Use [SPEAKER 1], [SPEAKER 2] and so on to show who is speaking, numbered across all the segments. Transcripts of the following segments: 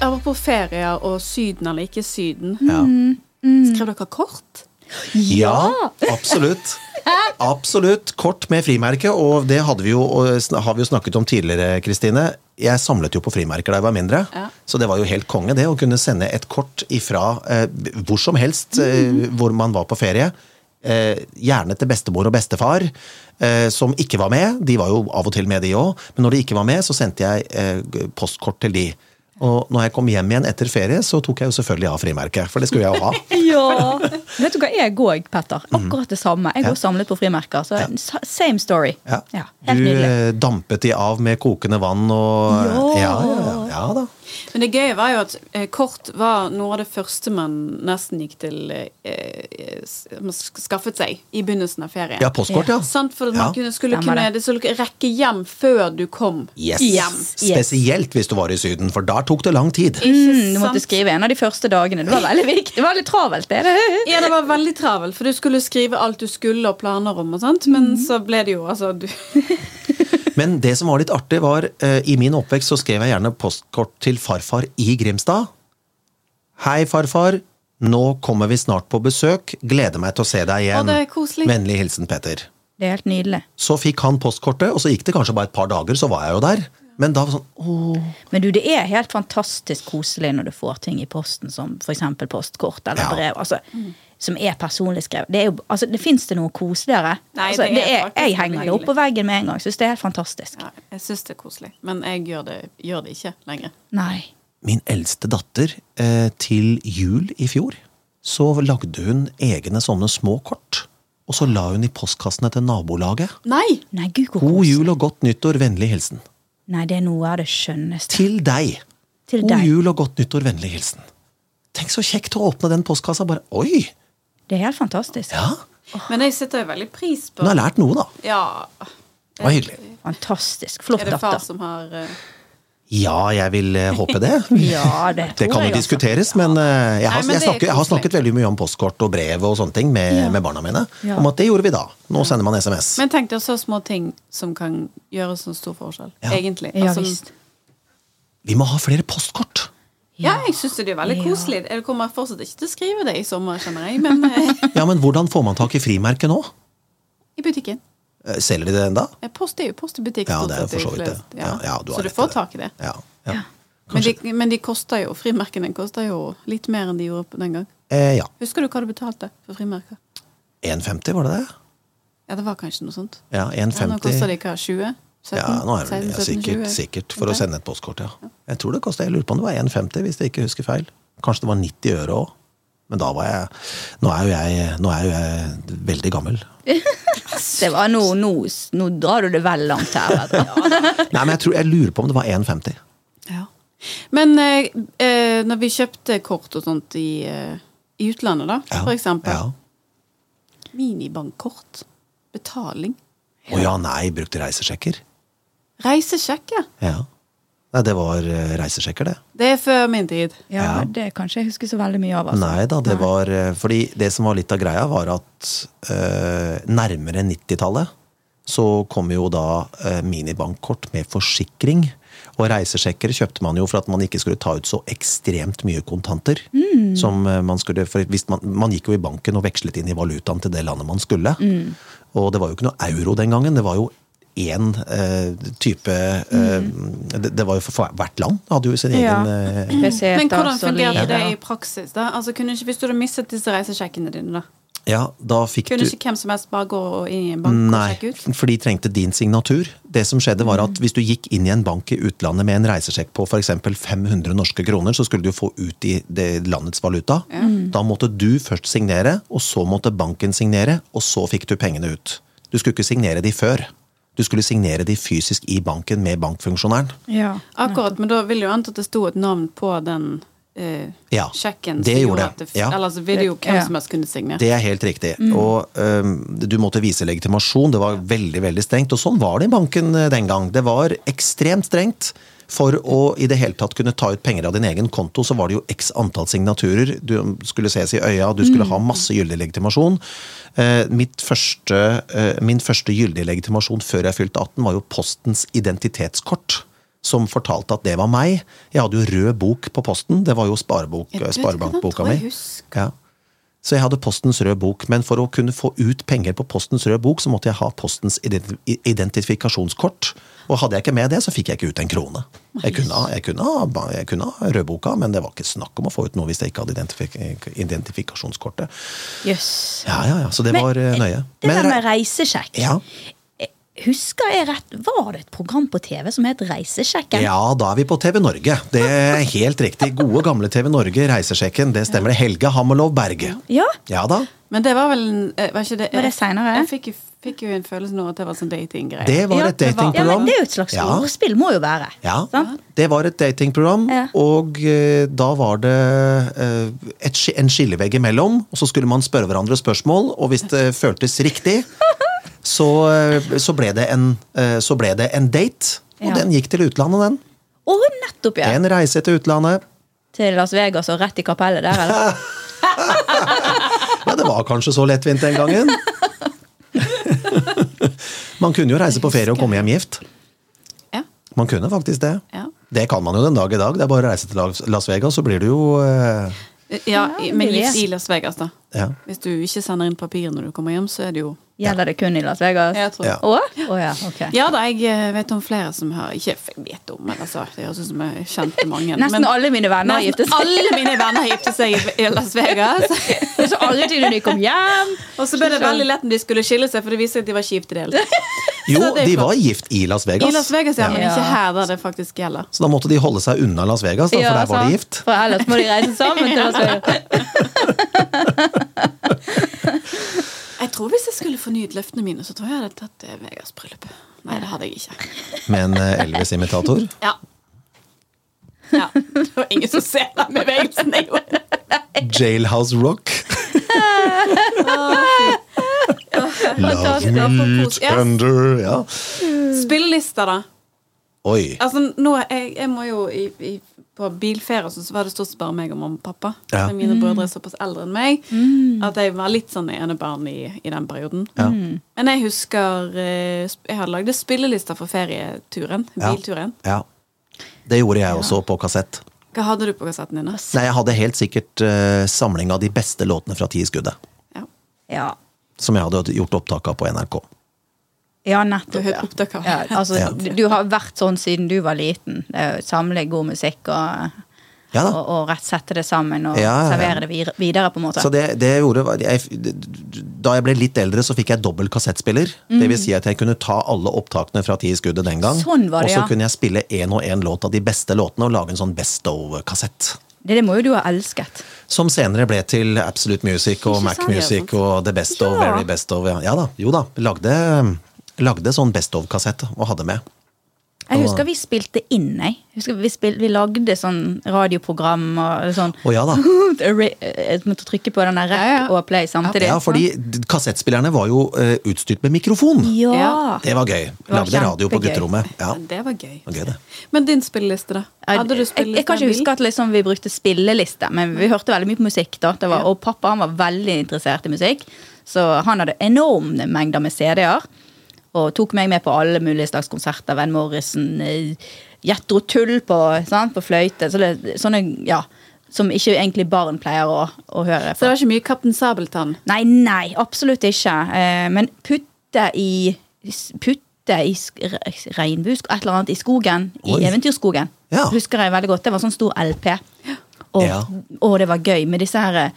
[SPEAKER 1] Jeg var på ferie og Syden eller ikke Syden.
[SPEAKER 2] Ja.
[SPEAKER 1] Skrev dere kort?
[SPEAKER 2] Ja, absolutt. Absolutt. Kort med frimerke, og det hadde vi jo, og eh, sn- har vi jo snakket om tidligere, Kristine. Jeg samlet jo på frimerker da jeg var mindre,
[SPEAKER 1] Ja.
[SPEAKER 2] så det var jo helt konge det å kunne sende et kort ifra eh, hvor som helst eh, hvor man var på ferie. Eh, gjerne til bestemor og bestefar, eh, som ikke var med. De var jo av og til med, de òg, men når de ikke var med, så sendte jeg eh, postkort til de. Og når jeg kom hjem igjen etter ferie, så tok jeg jo selvfølgelig av frimerket, for det skulle jeg jo ha.
[SPEAKER 3] Ja. Vet du hva, jeg òg, Petter.
[SPEAKER 2] Mhm.
[SPEAKER 3] Akkurat det samme. Jeg òg samlet på frimerker. Så sa- same story.
[SPEAKER 2] Ja.
[SPEAKER 3] helt
[SPEAKER 2] du
[SPEAKER 3] nydelig.
[SPEAKER 2] eh, dampet de av med kokende vann og
[SPEAKER 3] Ja.
[SPEAKER 2] ja, ja, ja, ja da.
[SPEAKER 1] Men det gøye var jo at eh, kort var noe av det første man nesten gikk til eh, eh, s- man sk- skaffet seg i begynnelsen av ferien.
[SPEAKER 2] Ja, postkort, ja.
[SPEAKER 1] Sant, for at man
[SPEAKER 2] Ja.
[SPEAKER 1] kunne, skulle
[SPEAKER 3] Stemmer
[SPEAKER 1] kunne,
[SPEAKER 3] det.
[SPEAKER 1] det skulle rekke hjem før du kom
[SPEAKER 2] Yes.
[SPEAKER 1] hjem.
[SPEAKER 3] Yes.
[SPEAKER 2] Spesielt hvis du var i Syden, for da tok det lang tid.
[SPEAKER 3] Mm, du måtte skrive en av de første dagene. Det var veldig viktig. Det var litt travelt. det.
[SPEAKER 1] Ja, det var veldig travelt, for du skulle skrive alt du skulle og planer om og sånt, men så ble det jo altså du
[SPEAKER 2] Men det som var litt artig, var eh, i min oppvekst så skrev jeg gjerne postkort til farfar i Grimstad. Hei, farfar. Nå kommer vi snart på besøk. Gleder meg til å se deg
[SPEAKER 1] Å,
[SPEAKER 2] igjen.
[SPEAKER 1] det er koselig.
[SPEAKER 2] Vennlig hilsen Peter.
[SPEAKER 3] Det er helt nydelig.
[SPEAKER 2] Så fikk han postkortet, og så gikk det kanskje bare et par dager, så var jeg jo der. Men da var det sånn
[SPEAKER 3] Men du, det er helt fantastisk koselig når du får ting i posten, som f.eks. postkort eller
[SPEAKER 2] Ja.
[SPEAKER 3] brev. Altså,
[SPEAKER 1] Mm.
[SPEAKER 3] som er personlig skrevet. Det, er jo- altså, det fins det noe koseligere?
[SPEAKER 1] Nei,
[SPEAKER 3] altså,
[SPEAKER 1] det er faktisk
[SPEAKER 3] jeg henger det
[SPEAKER 1] veldig
[SPEAKER 3] opp på veggen med en gang. Syns det er helt fantastisk.
[SPEAKER 1] ja, Jeg syns det er koselig, men jeg gjør det, gjør det ikke lenger.
[SPEAKER 3] Nei.
[SPEAKER 2] min eldste datter eh, til jul i fjor, så lagde hun egne sånne små kort. Og så la hun i postkassene til nabolaget.
[SPEAKER 1] Nei!
[SPEAKER 3] Nei, gud, hvor
[SPEAKER 2] God
[SPEAKER 3] koselig.
[SPEAKER 2] jul og godt nyttår, vennlig hilsen.
[SPEAKER 3] Nei, det er noe av det skjønneste.
[SPEAKER 2] Til deg.
[SPEAKER 3] Til
[SPEAKER 2] God
[SPEAKER 3] deg.
[SPEAKER 2] jul og godt nyttår, vennlig hilsen. Tenk så kjekt å åpne den postkassa. Bare oi!
[SPEAKER 3] Det er helt fantastisk.
[SPEAKER 2] Ja,
[SPEAKER 1] Men jeg setter jo veldig pris på
[SPEAKER 2] hun har lært noe, da.
[SPEAKER 1] Ja.
[SPEAKER 2] Det var hyggelig.
[SPEAKER 3] Fantastisk. Flott
[SPEAKER 1] Er det far
[SPEAKER 3] datter.
[SPEAKER 1] som har eh,
[SPEAKER 2] Ja, jeg vil eh, håpe det.
[SPEAKER 3] Ja, det,
[SPEAKER 2] Det
[SPEAKER 3] tror
[SPEAKER 2] kan
[SPEAKER 3] jeg,
[SPEAKER 2] jo
[SPEAKER 3] altså.
[SPEAKER 2] diskuteres, men eh, jeg har,
[SPEAKER 1] Nei, men
[SPEAKER 2] jeg,
[SPEAKER 1] det er
[SPEAKER 2] snakker, jeg har
[SPEAKER 1] koselig.
[SPEAKER 2] snakket veldig mye om postkort og brev og sånne ting med, med barna mine.
[SPEAKER 3] Ja.
[SPEAKER 2] Om at det gjorde vi da. Nå sender man SMS.
[SPEAKER 1] Men tenk deg så små ting som kan gjøre sånn stor forskjell,
[SPEAKER 2] Ja.
[SPEAKER 1] egentlig.
[SPEAKER 3] Ja
[SPEAKER 1] Altså,
[SPEAKER 3] visst.
[SPEAKER 2] Vi må ha flere postkort.
[SPEAKER 1] ja, jeg syns det er veldig
[SPEAKER 3] Ja.
[SPEAKER 1] koselig. Jeg kommer fortsatt ikke til å skrive det i sommer, kjenner jeg, men eh,
[SPEAKER 2] Ja, men hvordan får man tak i frimerket nå?
[SPEAKER 1] i butikken.
[SPEAKER 2] Eh, Selger de det enda?
[SPEAKER 1] Eh, Post er jo post i butikk.
[SPEAKER 2] Ja,
[SPEAKER 1] stort
[SPEAKER 2] det er jo
[SPEAKER 1] sett,
[SPEAKER 2] for så vidt det.
[SPEAKER 1] flest.
[SPEAKER 2] Ja, ja, du
[SPEAKER 1] så du
[SPEAKER 2] har rett i
[SPEAKER 1] får
[SPEAKER 2] det.
[SPEAKER 1] tak i det.
[SPEAKER 2] Ja, ja.
[SPEAKER 3] Ja.
[SPEAKER 1] Men de, men de koster jo, frimerkene koster jo litt mer enn de gjorde på den gang.
[SPEAKER 2] Eh, ja.
[SPEAKER 1] Husker du hva du betalte for frimerker?
[SPEAKER 2] 1,50 var det det?
[SPEAKER 1] Ja, det var kanskje noe sånt.
[SPEAKER 2] Ja,
[SPEAKER 1] Ja, nå koster
[SPEAKER 2] 1,50.
[SPEAKER 1] de hva, 20? 17?
[SPEAKER 2] Ja, nå er det
[SPEAKER 1] 16,
[SPEAKER 2] ja,
[SPEAKER 1] 17,
[SPEAKER 2] sikkert,
[SPEAKER 1] 20?
[SPEAKER 2] sikkert for å
[SPEAKER 1] Ok.
[SPEAKER 2] sende et postkort, ja. Jeg tror det kostet, jeg lurer på om det var 1,50 hvis jeg ikke husker feil. Kanskje det var 90 øre òg. Men da var jeg Nå er jo jeg, nå er jo jeg veldig gammel.
[SPEAKER 3] Det var nå, nå, nå drar du det vel langt her. altså. Petter.
[SPEAKER 2] Nei, men jeg, tror, jeg lurer på om det var 1,50.
[SPEAKER 1] Ja. Men eh, eh, når vi kjøpte kort og sånt i, eh, i utlandet, da,
[SPEAKER 2] Ja,
[SPEAKER 1] for eksempel.
[SPEAKER 2] Ja.
[SPEAKER 1] Minibankkort. Betaling.
[SPEAKER 2] Å ja, nei, brukte reisesjekker.
[SPEAKER 1] Reisesjekk, ja.
[SPEAKER 2] Ja. Nei, det var eh, reisesjekker, det.
[SPEAKER 1] Det er før min tid.
[SPEAKER 3] Ja, det kan ikke jeg huske så veldig mye av. Altså.
[SPEAKER 2] Nei da, det var eh, Fordi det som var litt av greia, var at eh, nærmere 90-tallet så kom jo da eh, minibankkort med forsikring. Og reisesjekker kjøpte man jo for at man ikke skulle ta ut så ekstremt mye kontanter. Som eh, man skulle For hvis man, man gikk jo i banken og vekslet inn i valutaen til det landet man skulle. Og det var jo ikke noe euro den gangen. Det var jo én eh, type eh, det, det var jo for hvert land. Hadde jo sin egen
[SPEAKER 3] Ja.
[SPEAKER 2] eh,
[SPEAKER 3] Pesetas
[SPEAKER 1] Men hvordan
[SPEAKER 3] og
[SPEAKER 1] fungerte
[SPEAKER 3] lire.
[SPEAKER 1] det i praksis? da? Altså, kunne ikke, hvis du hadde mistet disse reisesjekkene dine, da?
[SPEAKER 2] Ja, da fikk
[SPEAKER 1] Kunne
[SPEAKER 2] du
[SPEAKER 1] ikke hvem som helst bare gå inn i en bank og
[SPEAKER 2] Nei,
[SPEAKER 1] sjekke ut? Mm.
[SPEAKER 2] for de trengte din signatur. Det som skjedde var at Hvis du gikk inn i en bank i utlandet med en reisesjekk på f.eks. 500 norske kroner, så skulle du få ut i det landets valuta.
[SPEAKER 1] Mm.
[SPEAKER 2] Da måtte du først signere, og så måtte banken signere, og så fikk du pengene ut. Du skulle ikke signere de før. Du skulle signere de fysisk i banken med bankfunksjonæren.
[SPEAKER 3] Ja.
[SPEAKER 1] Akkurat, men da vil jo anta at det sto et navn på den eh,
[SPEAKER 2] Ja,
[SPEAKER 1] sjekken.
[SPEAKER 2] det
[SPEAKER 1] som
[SPEAKER 2] gjorde
[SPEAKER 1] at
[SPEAKER 2] det.
[SPEAKER 1] det.
[SPEAKER 2] Ja.
[SPEAKER 1] Ellers ville jo hvem
[SPEAKER 3] Ja.
[SPEAKER 1] som helst kunne signere.
[SPEAKER 2] Det er helt riktig. Og øhm, du måtte vise legitimasjon. Det var veldig veldig strengt. Og sånn var det i banken øh, den gang. Det var ekstremt strengt. For å i det hele tatt kunne ta ut penger av din egen konto, så var det jo x antall signaturer. Du skulle ses i øya, du skulle ha masse gyldig legitimasjon. Eh, mitt første, eh, min første gyldige legitimasjon før jeg fylte 18, var jo Postens identitetskort. som fortalte at det var meg. Jeg hadde jo rød bok på posten. Det var jo sparebok,
[SPEAKER 1] Jeg vet ikke,
[SPEAKER 2] sparebankboka
[SPEAKER 1] den tror jeg
[SPEAKER 2] mi.
[SPEAKER 1] husker.
[SPEAKER 2] Ja. Så jeg hadde Postens rød bok, men for å kunne få ut penger på Postens rød bok, så måtte jeg ha Postens ident- i- identifikasjonskort. Og hadde jeg ikke med det, så fikk jeg ikke ut en krone. Jeg kunne, ha- jeg kunne, ha ba- jeg kunne ha rødboka, men det var ikke snakk om å få ut noe hvis jeg ikke hadde identifik identifikasjonskortet.
[SPEAKER 3] Jøss.
[SPEAKER 2] Ja, ja, ja, Så det var eh, nøye.
[SPEAKER 3] Det der med
[SPEAKER 2] re-
[SPEAKER 3] reisesjekk. Eh,
[SPEAKER 2] ja.
[SPEAKER 3] Husker jeg rett, var det et program på TV som het Reisesjekken?
[SPEAKER 2] Ja, da er vi på TV Norge. Det er helt riktig. Gode, gamle TV Norge, Reisesjekken. Det stemmer. det. Helge Hammerlov Berge.
[SPEAKER 3] Ja.
[SPEAKER 2] Ja da.
[SPEAKER 1] Men det var vel en- eh, Var, ikke det,
[SPEAKER 3] Var det senere?
[SPEAKER 1] Jeg fikk, jo- fikk jo en følelse nå at det var sånn datinggreie.
[SPEAKER 2] Det var
[SPEAKER 3] Ja,
[SPEAKER 2] et
[SPEAKER 1] det var-
[SPEAKER 3] Ja,
[SPEAKER 2] datingprogram.
[SPEAKER 3] men Det er jo et slags
[SPEAKER 2] Ja.
[SPEAKER 3] ordspill, må jo være.
[SPEAKER 2] Ja,
[SPEAKER 3] Sant?
[SPEAKER 2] det var et datingprogram,
[SPEAKER 3] Ja.
[SPEAKER 2] og eh, da var det eh, et, sk- en skillevegg imellom. Og så skulle man spørre hverandre spørsmål, og hvis det føltes riktig, så, eh, så, ble, det en, eh, så ble det en date. Og
[SPEAKER 3] Ja.
[SPEAKER 2] den gikk til utlandet, den.
[SPEAKER 3] Og nettopp, ja.
[SPEAKER 2] En reise til utlandet.
[SPEAKER 3] Til Las Vegas og rett i kapellet der, eller?
[SPEAKER 2] Ja, det var kanskje så lettvint den gangen. Man kunne jo reise på ferie og komme hjem gift.
[SPEAKER 1] Ja.
[SPEAKER 2] Man kunne faktisk det.
[SPEAKER 1] Ja.
[SPEAKER 2] Det kan man jo den dag i dag. Det er bare å reise til Las- Las Vegas, så blir du jo eh,
[SPEAKER 1] Ja,
[SPEAKER 3] Ja,
[SPEAKER 1] men
[SPEAKER 3] det
[SPEAKER 1] gift
[SPEAKER 3] vet.
[SPEAKER 1] i Las Vegas, da.
[SPEAKER 2] Ja.
[SPEAKER 1] Hvis du ikke sender inn papir når du kommer hjem, så er det jo
[SPEAKER 3] Gjelder det kun i Las Vegas?
[SPEAKER 1] Jeg tror det.
[SPEAKER 2] Ja.
[SPEAKER 3] Å? Å ja, ok.
[SPEAKER 1] Ja da, jeg eh, vet om flere som har Ikke f- vet om, men altså, det høres ut som jeg kjente mange.
[SPEAKER 3] Nesten alle mine venner har giftet
[SPEAKER 1] Nesten
[SPEAKER 3] seg.
[SPEAKER 1] alle mine venner har giftet seg i- i Las Vegas.
[SPEAKER 3] Så alle tiden de kom hjem.
[SPEAKER 1] Og så ble det veldig lett når de skulle skille seg, for det viste seg at de var kjipt i det hele tatt.
[SPEAKER 2] Jo,
[SPEAKER 1] Så det er
[SPEAKER 2] de
[SPEAKER 1] flott.
[SPEAKER 2] var gift i Las Vegas.
[SPEAKER 1] I Las Vegas, ja, men
[SPEAKER 3] Ja.
[SPEAKER 1] ikke her der det faktisk gjelder.
[SPEAKER 2] Så da måtte de holde seg unna Las Vegas, da, for
[SPEAKER 3] Ja,
[SPEAKER 2] der var
[SPEAKER 3] sant.
[SPEAKER 2] de gift.
[SPEAKER 3] For ellers må de reise sammen til Las Vegas.
[SPEAKER 1] Jeg tror hvis jeg skulle fornyet løftene mine, så tror jeg jeg hadde tatt eh, Vegas bryllup. Nei, det hadde jeg ikke.
[SPEAKER 2] Med en eh, Elvis-imitator.
[SPEAKER 1] Ja. ja. Det var ingen som ser den bevegelsen jeg gjorde.
[SPEAKER 2] Jailhouse Rock. Love me
[SPEAKER 1] Fantastisk.
[SPEAKER 2] tender ja.
[SPEAKER 1] Spillelister, da.
[SPEAKER 2] Oi.
[SPEAKER 1] Altså, nå, jeg, jeg må jo i, i, På bilferie sånn, så var det stort sett bare meg og mamma og pappa.
[SPEAKER 2] Ja.
[SPEAKER 1] Men Mine brødre er såpass eldre enn meg at jeg var litt sånn enebarn i, i den perioden. Men jeg husker eh, sp- Jeg hadde lagd spillelister for ferieturen.
[SPEAKER 2] Ja.
[SPEAKER 1] Bilturen.
[SPEAKER 2] Ja. Det gjorde jeg også på kassett.
[SPEAKER 1] Hva hadde du på kassetten din? da?
[SPEAKER 2] Nei, jeg hadde helt sikkert eh, samling av de beste låtene fra Ti i skuddet.
[SPEAKER 1] Ja.
[SPEAKER 3] Ja.
[SPEAKER 2] Som jeg hadde gjort opptak av på NRK.
[SPEAKER 3] Ja,
[SPEAKER 1] Du
[SPEAKER 3] nettopp.
[SPEAKER 1] har hørt
[SPEAKER 3] Ja.
[SPEAKER 1] opptak av
[SPEAKER 3] Ja, altså,
[SPEAKER 2] Ja.
[SPEAKER 3] du, du har vært sånn siden du var liten. Det er jo Samle god musikk og,
[SPEAKER 2] Ja da.
[SPEAKER 3] og, og rett sette det sammen og
[SPEAKER 2] Ja, ja, ja.
[SPEAKER 3] servere det vir- videre, på en måte.
[SPEAKER 2] Så det, det gjorde var- jeg, Da jeg ble litt eldre, så fikk jeg dobbel kassettspiller. Det vil si at jeg kunne ta alle opptakene fra Ti i skuddet den gang.
[SPEAKER 3] Mhm. Sånn var det,
[SPEAKER 2] og så
[SPEAKER 3] ja.
[SPEAKER 2] kunne jeg spille én og én låt av de beste låtene og lage en sånn best of-kassett.
[SPEAKER 3] Det, det må jo du ha elsket.
[SPEAKER 2] Som senere ble til Absolute Music og
[SPEAKER 1] Ikke
[SPEAKER 2] Mac
[SPEAKER 1] sant,
[SPEAKER 2] Music
[SPEAKER 1] det er
[SPEAKER 2] og The Best of,
[SPEAKER 3] Ja.
[SPEAKER 2] Very Best of. Ja, ja da, jo da. Lagde, lagde sånn Best of-kassett og hadde med.
[SPEAKER 3] Jeg husker vi spilte inn, jeg. jeg husker vi, spil, vi lagde sånn radioprogram og sånn.
[SPEAKER 2] Å ja da.
[SPEAKER 3] Re- Jeg måtte trykke på den der rap
[SPEAKER 1] Ja, ja.
[SPEAKER 3] og play samtidig.
[SPEAKER 2] Ja, fordi d- kassettspillerne var jo eh, utstyrt med mikrofon.
[SPEAKER 3] Ja.
[SPEAKER 1] Ja.
[SPEAKER 2] Det var gøy.
[SPEAKER 3] var
[SPEAKER 2] Lagde radio på
[SPEAKER 3] kjempegøy.
[SPEAKER 2] gutterommet. Ja,
[SPEAKER 1] Men Det var gøy.
[SPEAKER 2] det var gøy det.
[SPEAKER 1] Men din spilleliste, da? Hadde du
[SPEAKER 3] Jeg, jeg, jeg
[SPEAKER 1] spilleliste
[SPEAKER 3] kan ikke huske at liksom vi brukte spilleliste, men vi hørte veldig mye på musikk. da. Det var, og pappa han var veldig interessert i musikk, så han hadde enorme mengder med CD-er. Og tok meg med på alle mulige slags konserter. Van Morrison, eh, Jethro Tull på, sant, på fløyte. Så det, sånne ja, som ikke egentlig barn pleier å, å høre.
[SPEAKER 1] Så det var ikke mye Kaptein Sabeltann?
[SPEAKER 3] Nei, nei, absolutt ikke. Eh, Men putte i Putte i sk- re- regnbuesk Et eller annet i skogen.
[SPEAKER 2] Oi.
[SPEAKER 3] I Eventyrskogen.
[SPEAKER 2] Ja.
[SPEAKER 3] Husker jeg veldig godt. Det var sånn stor LP. Og,
[SPEAKER 2] Ja.
[SPEAKER 3] og det var gøy med disse her eh,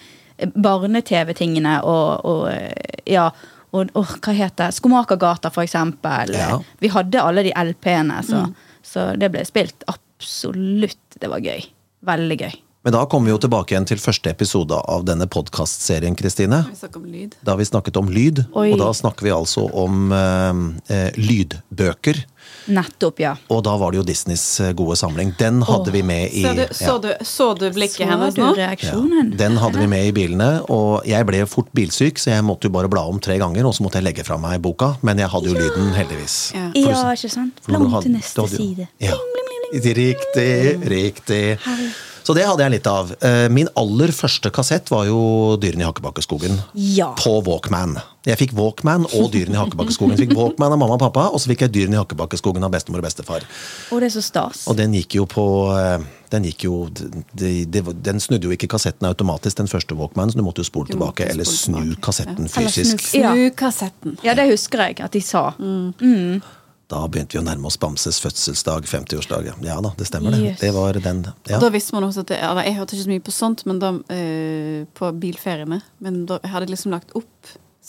[SPEAKER 3] barne-TV-tingene og, og eh, Ja. Og, og hva heter det? Skomakergata, for eksempel.
[SPEAKER 2] Ja. Mm.
[SPEAKER 3] Vi hadde alle de LP-ene, så, så det ble spilt. Absolutt. Det var gøy. Veldig gøy.
[SPEAKER 2] Men da kommer vi jo tilbake igjen til første episode av denne podkastserien, Kristine.
[SPEAKER 1] Vi snakker om lyd.
[SPEAKER 2] Da har vi snakket om lyd,
[SPEAKER 3] Oi.
[SPEAKER 2] og da snakker vi altså om eh, eh, lydbøker.
[SPEAKER 3] Nettopp, ja.
[SPEAKER 2] Og da var det jo Disneys eh, gode samling. Den hadde vi med i
[SPEAKER 1] Så du,
[SPEAKER 2] ja.
[SPEAKER 1] så du, så du blikket hennes
[SPEAKER 3] du
[SPEAKER 1] nå?
[SPEAKER 2] Ja,
[SPEAKER 3] reaksjonen?
[SPEAKER 2] den hadde vi med i bilene, og jeg ble fort bilsyk, så jeg måtte jo bare bla om tre ganger, og så måtte jeg legge fra meg boka, men jeg hadde jo lyden, heldigvis.
[SPEAKER 1] Ja.
[SPEAKER 2] For-
[SPEAKER 3] Ja, ikke sant?
[SPEAKER 2] for når du
[SPEAKER 3] Langt
[SPEAKER 2] hadde-
[SPEAKER 3] til
[SPEAKER 2] du
[SPEAKER 3] neste
[SPEAKER 2] hadde jo-
[SPEAKER 3] side.
[SPEAKER 2] Ja. Riktig, riktig. Så det hadde jeg litt av. Eh, Min aller første kassett var jo 'Dyrene i Hakkebakkeskogen'
[SPEAKER 3] Ja.
[SPEAKER 2] på Walkman. Jeg fikk Walkman og 'Dyrene i Hakkebakkeskogen'. Jeg fikk Walkman av mamma og pappa, og så fikk jeg 'Dyrene i Hakkebakkeskogen' av bestemor og bestefar.
[SPEAKER 3] Og det er så stas.
[SPEAKER 2] Og den gikk jo på eh, Den gikk jo de, de, Den snudde jo ikke kassetten automatisk, den første Walkman, så du måtte jo spole
[SPEAKER 1] Du måtte
[SPEAKER 2] tilbake, eller
[SPEAKER 1] spole
[SPEAKER 2] snu
[SPEAKER 1] tilbake,
[SPEAKER 2] kassetten
[SPEAKER 3] Eller
[SPEAKER 2] fysisk.
[SPEAKER 3] snu- Ja.
[SPEAKER 1] Snu kassetten.
[SPEAKER 3] Ja, det husker jeg at de sa.
[SPEAKER 2] Da begynte vi å nærme oss Bamses fødselsdag, 50-årsdag. Ja da, det stemmer det.
[SPEAKER 3] Yes.
[SPEAKER 2] Det var den. Ja.
[SPEAKER 1] Da visste man også at det, eller Jeg hørte ikke så mye på sånt men da, eh, på bilferiene, men da, jeg hadde liksom lagt opp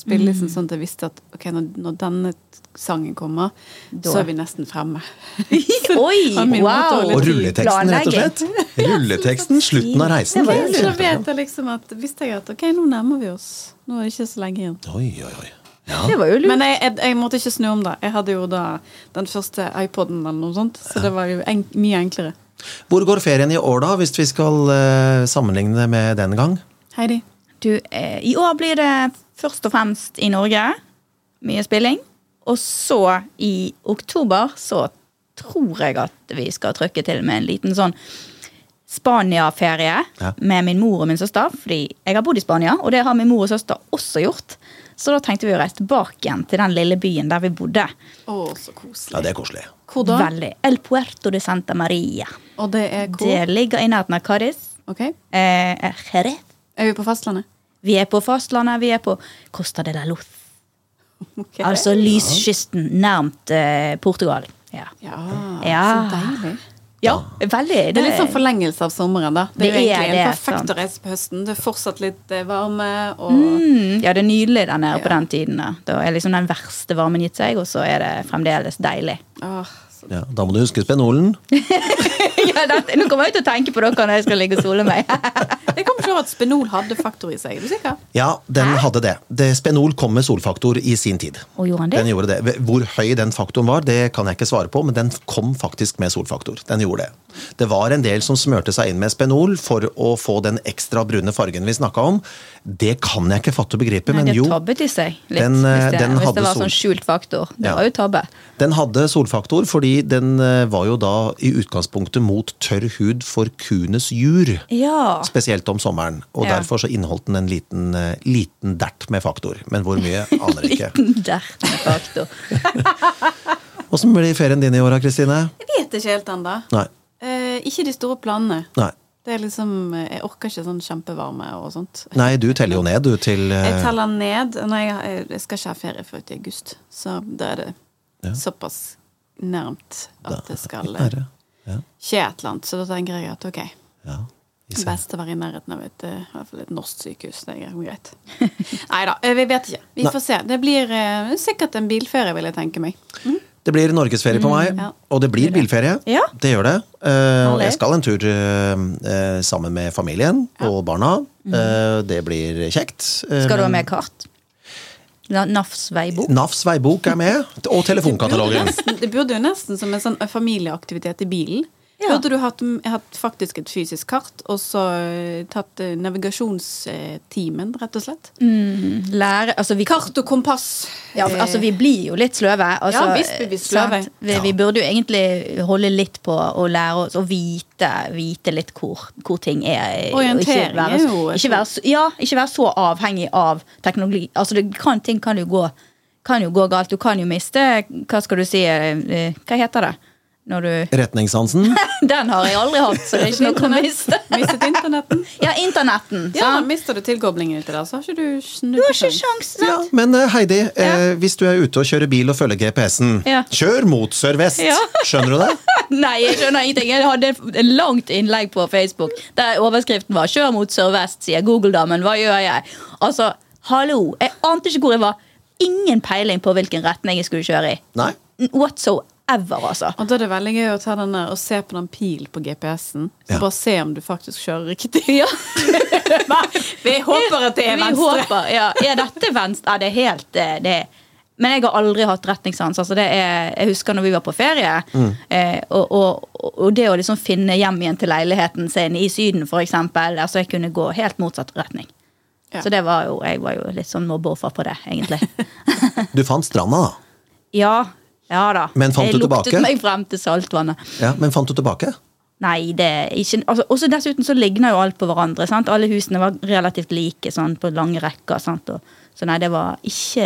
[SPEAKER 3] Mm.
[SPEAKER 1] spillelisten sånn at jeg visste at ok, når, når denne sangen kommer,
[SPEAKER 3] Da.
[SPEAKER 1] så er vi nesten fremme.
[SPEAKER 3] Oi,
[SPEAKER 1] Ja, min måte å
[SPEAKER 3] wow!
[SPEAKER 1] holde
[SPEAKER 2] Og rulleteksten, rett og slett. Rulleteksten, slutten av reisen.
[SPEAKER 1] Så
[SPEAKER 3] var
[SPEAKER 2] Det er
[SPEAKER 1] da
[SPEAKER 2] kjempebra.
[SPEAKER 1] vet jeg liksom at visste jeg at ok, nå nærmer vi oss. Nå er det ikke så lenge igjen.
[SPEAKER 2] Oi, oi, oi. Ja.
[SPEAKER 3] Det var jo lurt.
[SPEAKER 1] Men jeg, jeg, jeg måtte ikke snu om da. Jeg hadde jo da den første iPoden eller noe sånt, så det var jo enk, mye enklere.
[SPEAKER 2] Hvor går ferien i år, da, hvis vi skal eh, sammenligne det med den gang?
[SPEAKER 1] Heidi.
[SPEAKER 3] Du, eh, I år blir det først og fremst i Norge. Mye spilling. Og så i oktober så tror jeg at vi skal trykke til med en liten sånn Spania-ferie
[SPEAKER 2] Ja.
[SPEAKER 3] med min mor og min søster. Fordi jeg har bodd i Spania, og det har min mor og søster også gjort. Så da tenkte vi å reise tilbake igjen til den lille byen der vi bodde.
[SPEAKER 1] Å, så
[SPEAKER 2] Ja,
[SPEAKER 1] koselig.
[SPEAKER 2] det er koselig.
[SPEAKER 1] Hvor da?
[SPEAKER 3] Veldig. El Puerto de Santa Maria.
[SPEAKER 1] Og det er
[SPEAKER 3] Det
[SPEAKER 1] hvor?
[SPEAKER 3] ligger i nærheten av Cádiz.
[SPEAKER 1] Ok.
[SPEAKER 3] Eh, Jerez.
[SPEAKER 1] Er vi på fastlandet?
[SPEAKER 3] Vi er på fastlandet, vi er på Costa de la Luz.
[SPEAKER 1] Ok.
[SPEAKER 3] Altså lyskysten nærmt eh, Portugal. Ja.
[SPEAKER 1] ja,
[SPEAKER 3] Ja.
[SPEAKER 1] Så deilig.
[SPEAKER 3] ja, veldig.
[SPEAKER 1] Det er litt sånn forlengelse av sommeren, da. Det er jo
[SPEAKER 3] Det er
[SPEAKER 1] egentlig
[SPEAKER 3] det,
[SPEAKER 1] en perfekt
[SPEAKER 3] sant.
[SPEAKER 1] å reise på høsten. Det er fortsatt litt eh, varme, og
[SPEAKER 3] Mm, ja, det er nydelig der nede på
[SPEAKER 1] Ja.
[SPEAKER 3] den tiden. Da. da er liksom den verste varmen gitt seg, og så er det fremdeles deilig.
[SPEAKER 1] Åh, så
[SPEAKER 2] Ja, da må du huske spenolen.
[SPEAKER 3] ja, dette- nå kommer jeg til å tenke på dere når jeg skal ligge og sole meg.
[SPEAKER 1] Jeg kommer ikke over at Spenol hadde faktor i seg. Er du sikker?
[SPEAKER 2] Ja, den hadde det. det. Spenol kom med solfaktor i sin tid.
[SPEAKER 3] Og gjorde han det?
[SPEAKER 2] Den gjorde det. Hvor høy den faktoren var, det kan jeg ikke svare på, men den kom faktisk med solfaktor. Den gjorde det. Det var en del som smørte seg inn med spenol for å få den ekstra brune fargen vi snakka om. Det kan jeg ikke fatte og begripe,
[SPEAKER 3] Nei,
[SPEAKER 2] men
[SPEAKER 3] det
[SPEAKER 2] jo.
[SPEAKER 3] tabbet i seg litt,
[SPEAKER 2] Den, eh,
[SPEAKER 3] hvis, det,
[SPEAKER 2] den
[SPEAKER 3] hvis
[SPEAKER 2] hadde
[SPEAKER 3] det var
[SPEAKER 2] sol.
[SPEAKER 3] sånn skjult faktor. Det
[SPEAKER 2] Ja.
[SPEAKER 3] var jo tabbe.
[SPEAKER 2] Den hadde solfaktor fordi den eh, var jo da i utgangspunktet mot tørr hud for kuenes jur.
[SPEAKER 3] Ja.
[SPEAKER 2] Spesielt om sommeren, og
[SPEAKER 3] Ja.
[SPEAKER 2] derfor så inneholdt den en liten, eh, liten dert med faktor. Men hvor mye, aner jeg ikke.
[SPEAKER 3] Der, faktor.
[SPEAKER 2] Åssen blir ferien din i år, Kristine?
[SPEAKER 1] Jeg vet ikke helt ennå.
[SPEAKER 2] Nei.
[SPEAKER 1] Eh, ikke de store planene.
[SPEAKER 2] Nei.
[SPEAKER 1] Det er liksom, eh, Jeg orker ikke sånn kjempevarme og sånt.
[SPEAKER 2] Nei, du teller jo ned, du, til eh,
[SPEAKER 1] Jeg teller ned. Nei, jeg, jeg skal ikke ha ferie før ut i august, så da er det såpass nærmt at det skal eh,
[SPEAKER 2] Herre. Ja,
[SPEAKER 1] skje et eller annet. Så da tenker jeg at ok,
[SPEAKER 2] ja. vi ser.
[SPEAKER 1] best å være i nærheten av et, eh, i hvert fall et norsk sykehus. Det er jo greit. Nei da, vi vet ikke. Vi
[SPEAKER 2] Nei.
[SPEAKER 1] får se. Det blir eh, sikkert en bilferie, vil jeg tenke meg.
[SPEAKER 2] Det blir norgesferie på meg,
[SPEAKER 1] ja.
[SPEAKER 2] og det blir bilferie.
[SPEAKER 3] Ja.
[SPEAKER 2] Det gjør det. Eh, og
[SPEAKER 3] Herlig.
[SPEAKER 2] jeg skal en tur eh, eh, sammen med familien og barna. Eh, det blir kjekt. Eh,
[SPEAKER 3] Skal du ha
[SPEAKER 2] men-
[SPEAKER 3] med kart? Na- NAFs veibok?
[SPEAKER 2] NAFs veibok er med, og telefonkatalogen.
[SPEAKER 1] Nesten, det burde jo nesten som en sånn familieaktivitet i bilen.
[SPEAKER 3] Ja.
[SPEAKER 1] Burde du hatt, mm, hatt faktisk et fysisk kart, og så eh, tatt eh, navigasjonstimen, rett og slett?
[SPEAKER 3] Lære, altså vi
[SPEAKER 1] Kart og kompass. Eh,
[SPEAKER 3] Ja, for, altså Vi blir jo litt sløve. Altså,
[SPEAKER 1] Ja, visst blir vi sløve.
[SPEAKER 3] sant? Vi, vi burde jo egentlig holde litt på å lære oss å vite, vite litt hvor, hvor ting er. og
[SPEAKER 1] Orientering
[SPEAKER 3] ikke være,
[SPEAKER 1] er jo et
[SPEAKER 3] ikke være, så- Ja, ikke være så avhengig av teknologi. Altså, det kan, Ting kan jo, gå, kan jo gå galt. Du kan jo miste Hva skal du si eh, Hva heter det? Når du
[SPEAKER 2] Retningssansen.
[SPEAKER 3] Den har jeg aldri hatt, så det er ikke noe å miste.
[SPEAKER 1] Mistet internetten.
[SPEAKER 3] Ja, internetten.
[SPEAKER 1] Ja,
[SPEAKER 3] sant?
[SPEAKER 1] mister du tilkoblingen til det, så har ikke du snudd
[SPEAKER 3] Du har ikke sjans, sant?
[SPEAKER 2] Ja, men eh, Heidi, eh, hvis du er ute og kjører bil og følger GPS-en,
[SPEAKER 3] Ja.
[SPEAKER 2] kjør mot sørvest!
[SPEAKER 3] Ja.
[SPEAKER 2] Skjønner du det?
[SPEAKER 3] Nei, jeg skjønner ingenting. Jeg hadde et langt innlegg på Facebook der overskriften var 'Kjør mot sørvest', sier Google-damen. Hva gjør jeg? Altså, hallo! Jeg ante ikke hvor jeg var. Ingen peiling på hvilken retning jeg skulle kjøre i.
[SPEAKER 2] Nei?
[SPEAKER 3] Whatsoever, altså.
[SPEAKER 1] Og da er det veldig gøy å ta den der og se på den pilen på GPS-en. Så
[SPEAKER 2] Ja.
[SPEAKER 1] Bare se om du faktisk kjører riktig. Vi håper at det er
[SPEAKER 3] Vi
[SPEAKER 1] venstre.
[SPEAKER 3] håper, ja. Er dette venstre? Ja, det er helt eh, det er. Men jeg har aldri hatt retningssans. Altså det er, jeg husker når vi var på ferie,
[SPEAKER 2] Mm.
[SPEAKER 3] eh, og, og, og det å liksom finne hjem igjen til leiligheten sin i Syden, for eksempel, altså jeg kunne gå helt motsatt retning.
[SPEAKER 1] Ja.
[SPEAKER 3] Så det var jo, jeg var jo litt sånn mobbeoffer på det, egentlig.
[SPEAKER 2] Du fant stranda, da.
[SPEAKER 3] ja, ja da.
[SPEAKER 2] Men fant
[SPEAKER 3] jeg
[SPEAKER 2] du tilbake?
[SPEAKER 3] luktet meg frem til saltvannet.
[SPEAKER 2] Ja, men fant du tilbake?
[SPEAKER 3] Nei, det er ikke altså, også Dessuten så ligner jo alt på hverandre. sant? Alle husene var relativt like sånn, på lange rekker. sant? Og, så nei, det var ikke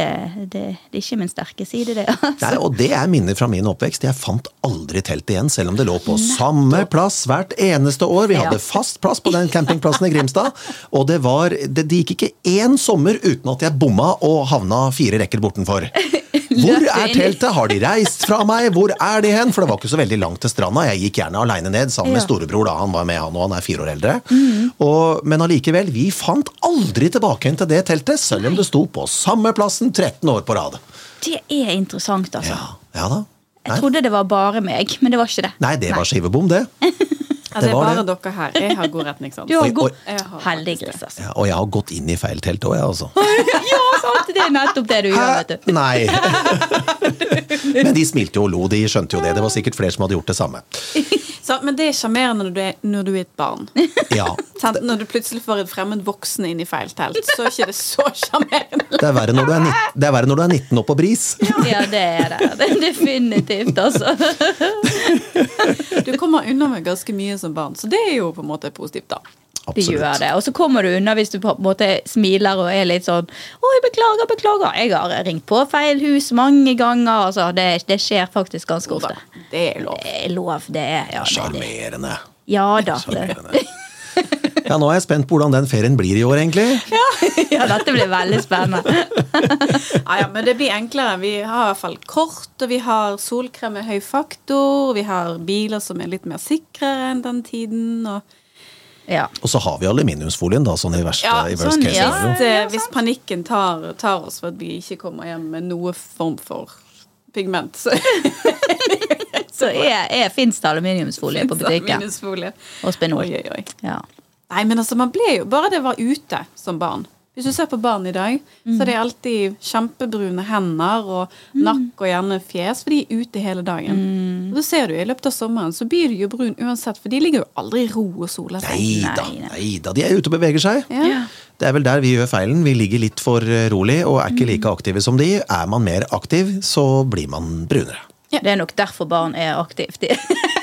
[SPEAKER 3] Det, det er ikke min sterke side, det. altså.
[SPEAKER 2] Nei, og det er minner fra min oppvekst. Jeg fant aldri teltet igjen, selv om det lå på samme plass hvert eneste år. Vi
[SPEAKER 3] Ja.
[SPEAKER 2] hadde fast plass på den campingplassen i Grimstad. Og det, var, det, det gikk ikke én sommer uten at jeg bomma og havna fire rekker bortenfor. Hvor
[SPEAKER 3] Løp du
[SPEAKER 2] er
[SPEAKER 3] inn i-
[SPEAKER 2] teltet? Har de reist fra meg? Hvor er de hen? For det var ikke så veldig langt til stranda. Jeg gikk gjerne aleine ned sammen med
[SPEAKER 3] Ja. Mm.
[SPEAKER 2] storebror, da han var med, han og han er fire år eldre. Og, men allikevel, vi fant aldri tilbake igjen til det teltet, selv om det sto på samme plassen 13 år på rad.
[SPEAKER 3] Det er interessant, altså.
[SPEAKER 2] Ja, ja da.
[SPEAKER 3] Jeg trodde det var bare meg, men det var ikke det.
[SPEAKER 2] Nei, det var skivebom, det.
[SPEAKER 1] Ja, Altså, det
[SPEAKER 2] Det
[SPEAKER 1] er
[SPEAKER 2] var
[SPEAKER 1] bare
[SPEAKER 2] det.
[SPEAKER 1] dere her. Jeg har god retning, sant?
[SPEAKER 3] Du har
[SPEAKER 2] Oi,
[SPEAKER 3] god
[SPEAKER 1] oi. Jeg har
[SPEAKER 3] Heldig gris, altså.
[SPEAKER 2] Ja, og jeg har gått inn i feil telt òg, jeg, altså.
[SPEAKER 3] Ja, sant! Det er nettopp det du gjør, vet du.
[SPEAKER 2] Nei. Men de smilte jo og lo, de skjønte jo det. Det var sikkert flere som hadde gjort det samme.
[SPEAKER 1] Så, men det er sjarmerende når, du er- når du er et barn.
[SPEAKER 2] Ja.
[SPEAKER 1] Sant? Når du plutselig får en fremmed voksen inn i feil telt, så er ikke det så sjarmerende.
[SPEAKER 2] Det er verre når du er 19, det er verre når du er 19 og på bris.
[SPEAKER 3] Ja, det er det. det er definitivt, altså.
[SPEAKER 1] Du kommer unna med ganske mye som barn, så det er jo på en måte positivt, da.
[SPEAKER 3] Det gjør det. Og så kommer du unna hvis du på en måte smiler og er litt sånn 'Å, jeg beklager, beklager. Jeg har ringt på feil hus mange ganger.' Altså, det, det skjer faktisk ganske
[SPEAKER 1] Jo da,
[SPEAKER 3] ofte.
[SPEAKER 1] Det er lov.
[SPEAKER 3] Det er lov, det er ja, det, det.
[SPEAKER 2] Sjarmerende.
[SPEAKER 3] ja da. Det.
[SPEAKER 2] Sjarmerende. Ja, nå er jeg spent på hvordan den ferien blir i år, egentlig.
[SPEAKER 3] Ja, dette blir veldig spennende.
[SPEAKER 1] Ja, ja, men det blir enklere. Vi har i hvert fall kort, og vi har solkrem med høy faktor, vi har biler som er litt mer sikre enn den tiden, og
[SPEAKER 3] Ja.
[SPEAKER 2] Og så har vi aluminiumsfolien, da, sånn i verste
[SPEAKER 1] Ja,
[SPEAKER 2] i worst
[SPEAKER 1] sånn,
[SPEAKER 2] case
[SPEAKER 1] ja.
[SPEAKER 2] scenario.
[SPEAKER 1] Hvis, eh, hvis panikken tar, tar oss for at vi ikke kommer hjem med noe form for pigment, så
[SPEAKER 3] Så er, er, fins det aluminiumsfolie på
[SPEAKER 1] så
[SPEAKER 3] butikken.
[SPEAKER 1] minusfolie.
[SPEAKER 3] Og
[SPEAKER 1] Oi,
[SPEAKER 3] Spenol.
[SPEAKER 1] oi, oi.
[SPEAKER 3] Ja.
[SPEAKER 1] Nei, men altså, man ble jo Bare det var ute som barn. Hvis du ser på barn i dag, så er
[SPEAKER 3] Mm.
[SPEAKER 1] de alltid kjempebrune hender og nakk og gjerne fjes, for de er ute hele dagen.
[SPEAKER 3] Mm.
[SPEAKER 1] Og da ser du, i løpet av sommeren så blir du jo brun uansett, for de ligger jo aldri i ro og Altså. soler seg.
[SPEAKER 2] Nei da,
[SPEAKER 3] Nei, nei.
[SPEAKER 2] nei da. De er ute og beveger seg.
[SPEAKER 1] Ja.
[SPEAKER 2] Det er vel der vi gjør feilen. Vi ligger litt for eh, rolig og er ikke like aktive som de. Er man mer aktiv, så blir man brunere.
[SPEAKER 1] Ja.
[SPEAKER 3] Det er nok derfor barn er aktive. De,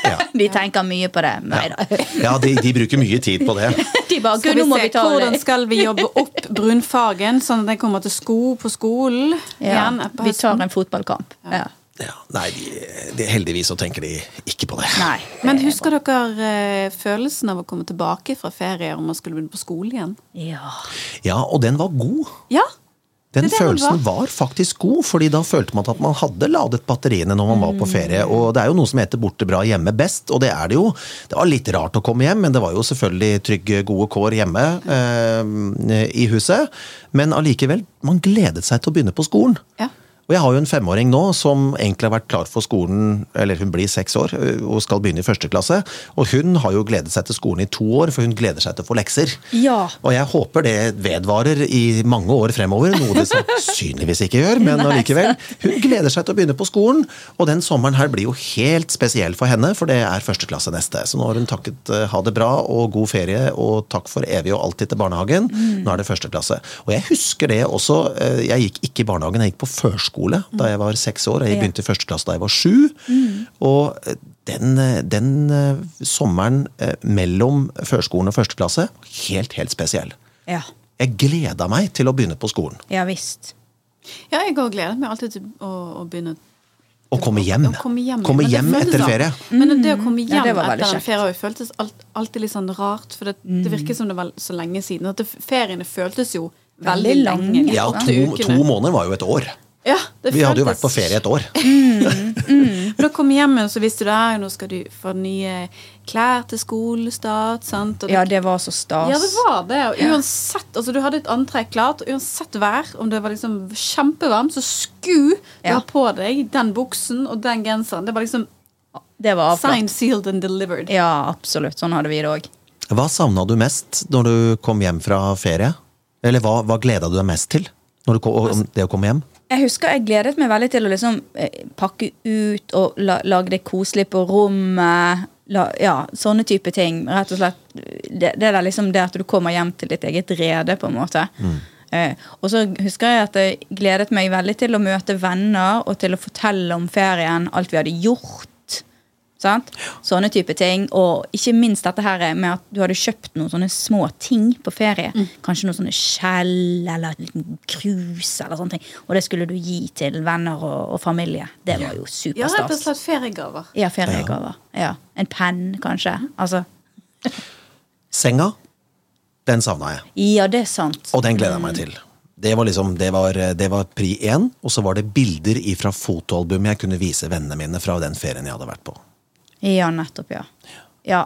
[SPEAKER 2] Ja.
[SPEAKER 3] de tenker mye på det. Nei da.
[SPEAKER 2] Ja, de, de bruker mye tid på det.
[SPEAKER 3] De bare
[SPEAKER 1] Skal
[SPEAKER 3] Gud,
[SPEAKER 1] vi
[SPEAKER 3] nå må
[SPEAKER 1] se,
[SPEAKER 3] vi ta
[SPEAKER 1] hvordan skal vi jobbe opp brunfargen, sånn at den kommer til sko på skolen
[SPEAKER 3] ja.
[SPEAKER 1] igjen? etterpå
[SPEAKER 3] Vi tar
[SPEAKER 1] høsten?
[SPEAKER 3] en fotballkamp. Ja.
[SPEAKER 2] Ja, nei, de, de, heldigvis så tenker de ikke på det.
[SPEAKER 3] Nei.
[SPEAKER 1] Men husker dere eh, følelsen av å komme tilbake fra ferie om man skulle begynne på skole igjen?
[SPEAKER 3] Ja.
[SPEAKER 2] Ja, og den var god.
[SPEAKER 1] Ja, Det
[SPEAKER 2] Den
[SPEAKER 1] er det den
[SPEAKER 2] følelsen var faktisk god, fordi da følte man at man hadde ladet batteriene når man var på
[SPEAKER 1] Mm.
[SPEAKER 2] ferie. Og det er jo noe som heter 'borte bra, hjemme best', og det er det jo. Det var litt rart å komme hjem, men det var jo selvfølgelig trygge, gode kår hjemme eh, i huset. Men allikevel, man gledet seg til å begynne på skolen.
[SPEAKER 1] Ja.
[SPEAKER 2] Og jeg har jo en femåring nå som egentlig har vært klar for skolen, eller hun blir seks år ø, og skal begynne i første klasse. Og hun har jo gledet seg til skolen i to år, for hun gleder seg til å få lekser.
[SPEAKER 3] Ja.
[SPEAKER 2] Og jeg håper det vedvarer i mange år fremover, noe det sannsynligvis ikke gjør, men allikevel. Hun gleder seg til å begynne på skolen, og den sommeren her blir jo helt spesiell for henne, for det er første klasse neste. Så nå har hun takket eh, ha det bra og god ferie og takk for evig og alltid til barnehagen.
[SPEAKER 1] Mm.
[SPEAKER 2] Nå er det første klasse. Og jeg husker det også, eh, jeg gikk ikke i barnehagen, jeg gikk på førskole da jeg var seks år, og jeg begynte i første klasse da jeg var sju.
[SPEAKER 1] Mm.
[SPEAKER 2] Og eh, den, eh, den eh, sommeren eh, mellom førskolen og første klasse, helt, helt spesiell.
[SPEAKER 3] Ja.
[SPEAKER 2] Jeg gleda meg til å begynne på skolen.
[SPEAKER 3] Ja visst.
[SPEAKER 1] ja jeg har gledet meg alltid til å, å begynne
[SPEAKER 2] Å komme hjem.
[SPEAKER 1] å komme hjem,
[SPEAKER 2] Mm. Komme
[SPEAKER 1] Men det
[SPEAKER 2] hjem
[SPEAKER 1] føltes
[SPEAKER 2] etter
[SPEAKER 1] sånn.
[SPEAKER 2] ferie.
[SPEAKER 1] Men det å komme hjem
[SPEAKER 3] Ja, det var veldig
[SPEAKER 1] etter en
[SPEAKER 3] kjekt.
[SPEAKER 1] ferie føltes alt, alltid litt sånn rart, for det, det virker som det var så lenge siden. At det, feriene føltes jo veldig,
[SPEAKER 3] Veldig
[SPEAKER 1] lange.
[SPEAKER 3] lange.
[SPEAKER 1] de
[SPEAKER 2] Ja,
[SPEAKER 1] åtte
[SPEAKER 2] to, to
[SPEAKER 1] ukene.
[SPEAKER 2] måneder var jo et år.
[SPEAKER 1] Ja, det
[SPEAKER 2] Vi hadde jo vært på
[SPEAKER 1] føltes-
[SPEAKER 2] ferie et år.
[SPEAKER 1] Men Da kom jeg hjem, og så visste du at nå skal du få nye klær til skolestart. Sant? Og
[SPEAKER 3] Ja, det var så stas.
[SPEAKER 1] ja, det var det. Og uansett, altså, du hadde et antrekk klart, og uansett vær, om det var liksom kjempevarmt, så sku du
[SPEAKER 3] Ja.
[SPEAKER 1] ha på deg den buksen og den genseren. Det var liksom
[SPEAKER 3] Det var avklart.
[SPEAKER 1] signed, sealed and delivered.
[SPEAKER 3] Ja, absolutt. Sånn hadde vi det òg.
[SPEAKER 2] Hva savna du mest når du kom hjem fra ferie? Eller hva, hva gleda du deg mest til? Når du kom, om det å komme hjem?
[SPEAKER 3] Jeg husker jeg gledet meg veldig til å liksom eh, pakke ut og la, lage det koselig på rommet. La, ja, sånne type ting. Rett og slett det, det er liksom det at du kommer hjem til ditt eget rede, på en måte. Eh, og så husker jeg at jeg gledet meg veldig til å møte venner og til å fortelle om ferien, alt vi hadde gjort. Sant? Sånne type ting. Og ikke minst dette her med at du hadde kjøpt noen sånne små ting på ferie. Kanskje noen sånne skjell eller en liten krus eller sånne ting. Og det skulle du gi til venner og, og familie. Det var jo
[SPEAKER 1] Ja, rett og
[SPEAKER 3] superstas.
[SPEAKER 1] slett feriegaver.
[SPEAKER 3] Ja, feriegaver. Ja. En penn, kanskje. Altså,
[SPEAKER 2] Senga, den savna jeg.
[SPEAKER 3] ja, det er sant.
[SPEAKER 2] Og den gleda jeg meg til. Det var liksom, det var, det var pri én, og så var det bilder fra fotoalbum jeg kunne vise vennene mine fra den ferien jeg hadde vært på.
[SPEAKER 3] Ja, nettopp, ja. Ja.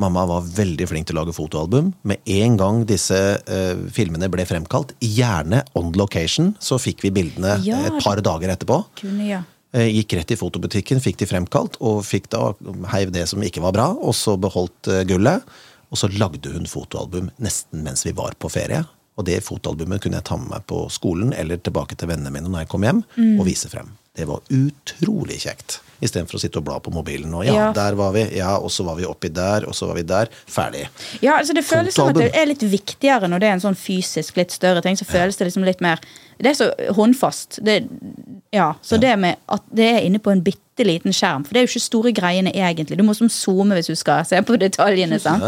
[SPEAKER 2] Mamma var veldig flink til å lage fotoalbum. Med en gang disse eh, filmene ble fremkalt, gjerne on location, så fikk vi bildene
[SPEAKER 3] Ja.
[SPEAKER 2] eh, et par dager etterpå.
[SPEAKER 3] Kunne, ja.
[SPEAKER 2] Eh, Gikk rett i fotobutikken, fikk de fremkalt, og fikk da heiv det som ikke var bra, og så beholdt eh, gullet. Og så lagde hun fotoalbum nesten mens vi var på ferie. Og det fotoalbumet kunne jeg ta med meg på skolen eller tilbake til vennene mine når jeg kom hjem,
[SPEAKER 3] Mm.
[SPEAKER 2] og vise frem. Det var utrolig kjekt. Istedenfor å sitte og bla på mobilen og ja,
[SPEAKER 3] Ja.
[SPEAKER 2] der var vi, ja, og så var vi oppi der, og så var vi der. Ferdig.
[SPEAKER 3] Ja, altså Det føles som at det
[SPEAKER 2] Fotoalbum.
[SPEAKER 3] er litt viktigere når det er en sånn fysisk litt større ting. Så føles det liksom litt mer Det er så håndfast. Det, ja, Så det med at det er inne på en bitte liten skjerm, for det er jo ikke store greiene egentlig. Du må som zoome hvis du skal se på detaljene. sant?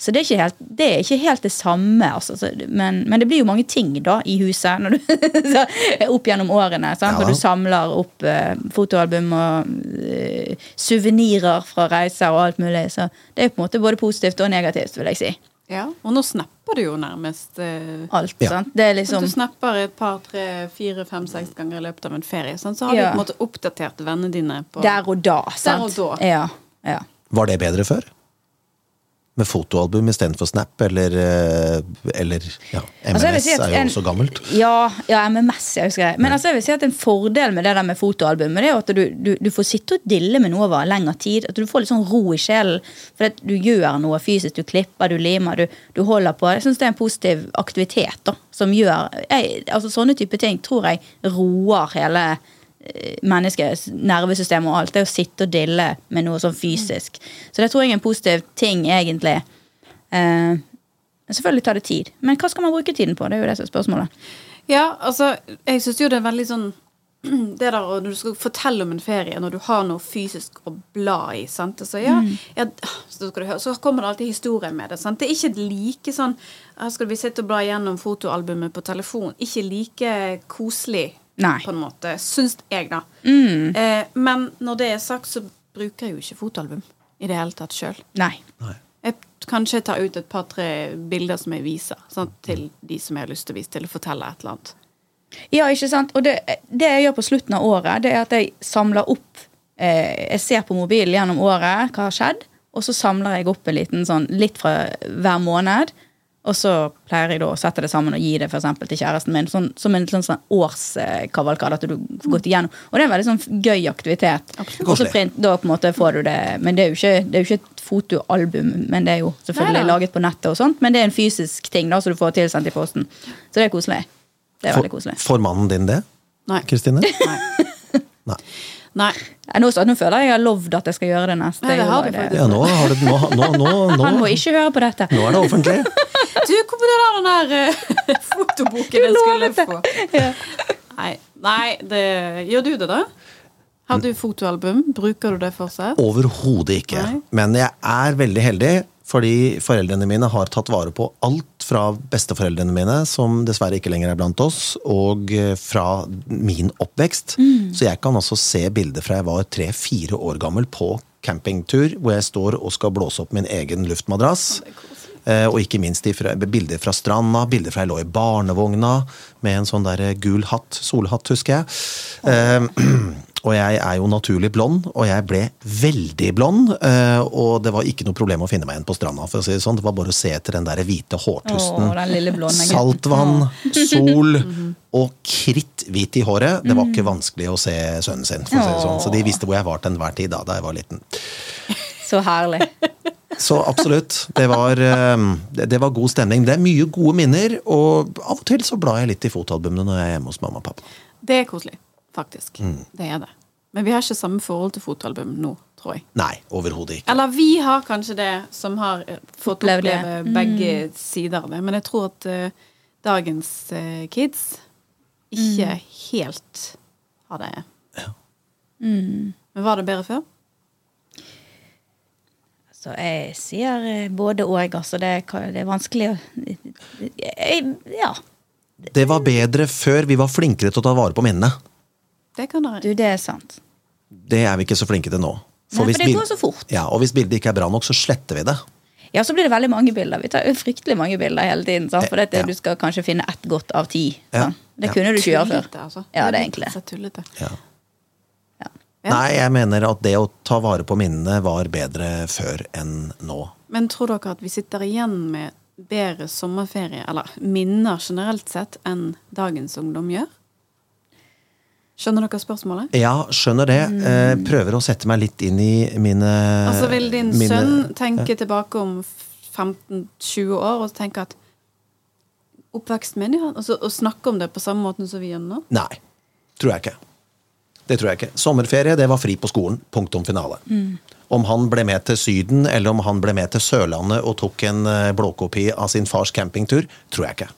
[SPEAKER 3] Så det er, ikke helt, det er ikke helt det samme, altså. Så, men, men det blir jo mange ting da i huset når du, så, opp gjennom årene.
[SPEAKER 2] Ja
[SPEAKER 3] Sant? Når
[SPEAKER 2] da.
[SPEAKER 3] du samler opp eh, fotoalbum og eh, suvenirer fra reiser og alt mulig. Så det er på en måte både positivt og negativt, vil jeg si.
[SPEAKER 1] Ja. Og nå snapper du jo nærmest. eh,
[SPEAKER 3] Alt,
[SPEAKER 2] Ja.
[SPEAKER 3] sant? Det
[SPEAKER 1] At
[SPEAKER 3] er liksom
[SPEAKER 1] du snapper et par, tre, fire, fem, seks ganger i løpet av en ferie. Sånn, så har du
[SPEAKER 3] Ja.
[SPEAKER 1] på en måte oppdatert vennene dine på
[SPEAKER 3] der og da, sant?
[SPEAKER 1] og da.
[SPEAKER 3] Ja, ja.
[SPEAKER 2] Var det bedre før? Med fotoalbum istedenfor Snap, eller, eh, eller ja, MMS
[SPEAKER 3] Altså, jeg vil si at
[SPEAKER 2] er jo
[SPEAKER 3] en-
[SPEAKER 2] også gammelt.
[SPEAKER 3] Ja, ja, MMS, jeg husker det. Men altså, jeg vil si at en fordel med det der med fotoalbumet, det er jo at du, du, du får sitte og dille med noe over lengre tid. At du får litt sånn ro i sjelen. For at du gjør noe fysisk. Du klipper, du limer, du, du holder på. Jeg syns det er en positiv aktivitet da, som gjør jeg, altså Sånne type ting tror jeg roer hele eh, menneskets nervesystem og alt. Det å sitte og dille med noe sånn fysisk. Så det tror jeg er en positiv ting, egentlig. Eh, selvfølgelig tar det tid, men hva skal man bruke tiden på? Det er jo det som er spørsmålet.
[SPEAKER 1] Ja, altså, jeg syns jo det er veldig sånn det der, og Når du skal fortelle om en ferie, når du har noe fysisk å bla i sant? Altså, ja, ja, så, skal du høre, så kommer det alltid historier med det. Sant? Det er ikke like sånn Her skal vi sitte og bla gjennom fotoalbumet på telefon. Ikke like koselig,
[SPEAKER 3] Nei.
[SPEAKER 1] på en måte. Syns jeg, da. Eh, men når det er sagt, så bruker jeg jo ikke fotoalbum i det hele tatt sjøl.
[SPEAKER 3] Nei.
[SPEAKER 2] Nei.
[SPEAKER 1] Jeg kanskje tar ut et par-tre bilder som jeg viser sant, til de som jeg har lyst til å vise til, og fortelle et eller annet.
[SPEAKER 3] Ja, ikke sant? Og det, det jeg gjør på slutten av året, det er at jeg samler opp eh, Jeg ser på mobilen gjennom året hva har skjedd, og så samler jeg opp en liten sånn litt fra hver måned. Og så pleier jeg da å sette det sammen og gi det for eksempel, til kjæresten min. Sånn, som en sånn, sånn årskavalkade. At du får gått igjennom. Og det er en veldig sånn gøy aktivitet. Og så
[SPEAKER 2] Koselig.
[SPEAKER 3] print, da på en måte får du det Men det er jo ikke, det er jo ikke et fotoalbum, men det er jo selvfølgelig
[SPEAKER 1] Neida.
[SPEAKER 3] laget på nettet og sånt. Men det er en fysisk ting da, så du får tilsendt i posten. Så det er koselig. Det er veldig
[SPEAKER 2] For,
[SPEAKER 3] koselig.
[SPEAKER 2] får mannen din det,
[SPEAKER 1] Nei.
[SPEAKER 2] Kristine?
[SPEAKER 1] Nei.
[SPEAKER 2] Nei.
[SPEAKER 1] Nei.
[SPEAKER 3] Nei, Nå, så, nå føler jeg jeg har lovd at jeg skal gjøre det neste.
[SPEAKER 1] Nei, det har
[SPEAKER 3] år.
[SPEAKER 1] du faktisk.
[SPEAKER 2] Ja, nå, har du, nå, nå, nå, nå,
[SPEAKER 3] Han må ikke høre på dette.
[SPEAKER 2] nå er det offentlig.
[SPEAKER 1] Du, hvor ble det av den der eh, fotoboken jeg skulle få? Nei, Nei det, gjør du det, da? Har du fotoalbum? Bruker du det fortsatt?
[SPEAKER 2] Overhodet ikke.
[SPEAKER 1] Nei.
[SPEAKER 2] Men jeg er veldig heldig, fordi foreldrene mine har tatt vare på alt fra besteforeldrene mine, som dessverre ikke lenger er blant oss, og eh, fra min oppvekst.
[SPEAKER 3] Mm.
[SPEAKER 2] Så jeg kan altså se bilder fra jeg var tre-fire år gammel på campingtur, hvor jeg står og skal blåse opp min egen luftmadrass. Eh, Og ikke minst de fra, bilder fra stranda, bilder fra jeg lå i barnevogna med en sånn der eh, gul hatt, solhatt, husker jeg. Eh, og jeg er jo naturlig blond, og jeg ble veldig blond. eh, Og det var ikke noe problem å finne meg igjen på stranda. for å si Det sånn. Det var bare å se etter den der hvite hårtusten.
[SPEAKER 3] Å, den lille blonde gutten.
[SPEAKER 2] Saltvann, sol og kritthvit i håret. Det var ikke vanskelig å se sønnen sin. for å si det sånn. Så de visste hvor jeg var til enhver tid da, da jeg var liten.
[SPEAKER 3] Så herlig.
[SPEAKER 2] Så absolutt. Det var, eh, det det var god stemning. Det er mye gode minner, og av og til så blar jeg litt i fotoalbumene når jeg er hjemme hos mamma og pappa.
[SPEAKER 1] Det er koselig, faktisk. Det er det. Men vi har ikke samme forhold til fotoalbum nå, tror jeg.
[SPEAKER 2] Nei, overhodet ikke.
[SPEAKER 1] Eller vi har kanskje det, som har eh, fått
[SPEAKER 3] Opplevd det. Mm.
[SPEAKER 1] oppleve begge sider av det. Men jeg tror at eh, dagens eh, kids ikke
[SPEAKER 3] Mm. Mm.
[SPEAKER 1] helt har det. Men var det bedre før?
[SPEAKER 3] Så jeg sier eh, både og, altså. Det, kan- det er vanskelig å jeg, Ja.
[SPEAKER 2] Det var bedre før vi var flinkere til å ta vare på minnene.
[SPEAKER 1] Det kan dere.
[SPEAKER 3] Du, det er sant.
[SPEAKER 2] Det er vi ikke så flinke til nå.
[SPEAKER 3] Nei, for
[SPEAKER 2] hvis
[SPEAKER 3] det
[SPEAKER 2] bil-
[SPEAKER 3] går så fort.
[SPEAKER 2] Ja, og hvis bildet ikke er bra nok, så sletter vi det.
[SPEAKER 3] Ja, så blir det veldig mange bilder. Vi tar jo fryktelig mange bilder hele tiden. Sant? For dette,
[SPEAKER 2] Eh, Ja.
[SPEAKER 3] du skal kanskje finne ett godt av ti.
[SPEAKER 2] Ja.
[SPEAKER 3] sant? Det
[SPEAKER 2] Ja.
[SPEAKER 3] kunne du ikke gjøre før.
[SPEAKER 1] Tullete, altså.
[SPEAKER 3] Ja, det er
[SPEAKER 1] blitt
[SPEAKER 3] egentlig det.
[SPEAKER 1] så tullete.
[SPEAKER 2] Ja.
[SPEAKER 3] Ja.
[SPEAKER 1] Ja.
[SPEAKER 2] Nei, jeg mener at det å ta vare på minnene var bedre før enn nå.
[SPEAKER 1] Men tror dere at vi sitter igjen med bedre sommerferie, eller minner generelt sett, enn dagens ungdom gjør? Skjønner dere spørsmålet?
[SPEAKER 2] Ja, skjønner det.
[SPEAKER 3] Mm.
[SPEAKER 2] Eh, prøver å sette meg litt inn i mine
[SPEAKER 1] Altså vil din
[SPEAKER 2] mine-
[SPEAKER 1] sønn tenke tilbake om 15-20 år og tenke at oppveksten min, ja, altså, og snakke om det på samme måten som vi gjør nå?
[SPEAKER 2] Nei. Tror jeg ikke. Det tror jeg ikke. Sommerferie, det var fri på skolen. Punktum finale. Om han ble med til Syden, eller om han ble med til Sørlandet og tok en eh, blåkopi av sin fars campingtur, tror jeg ikke.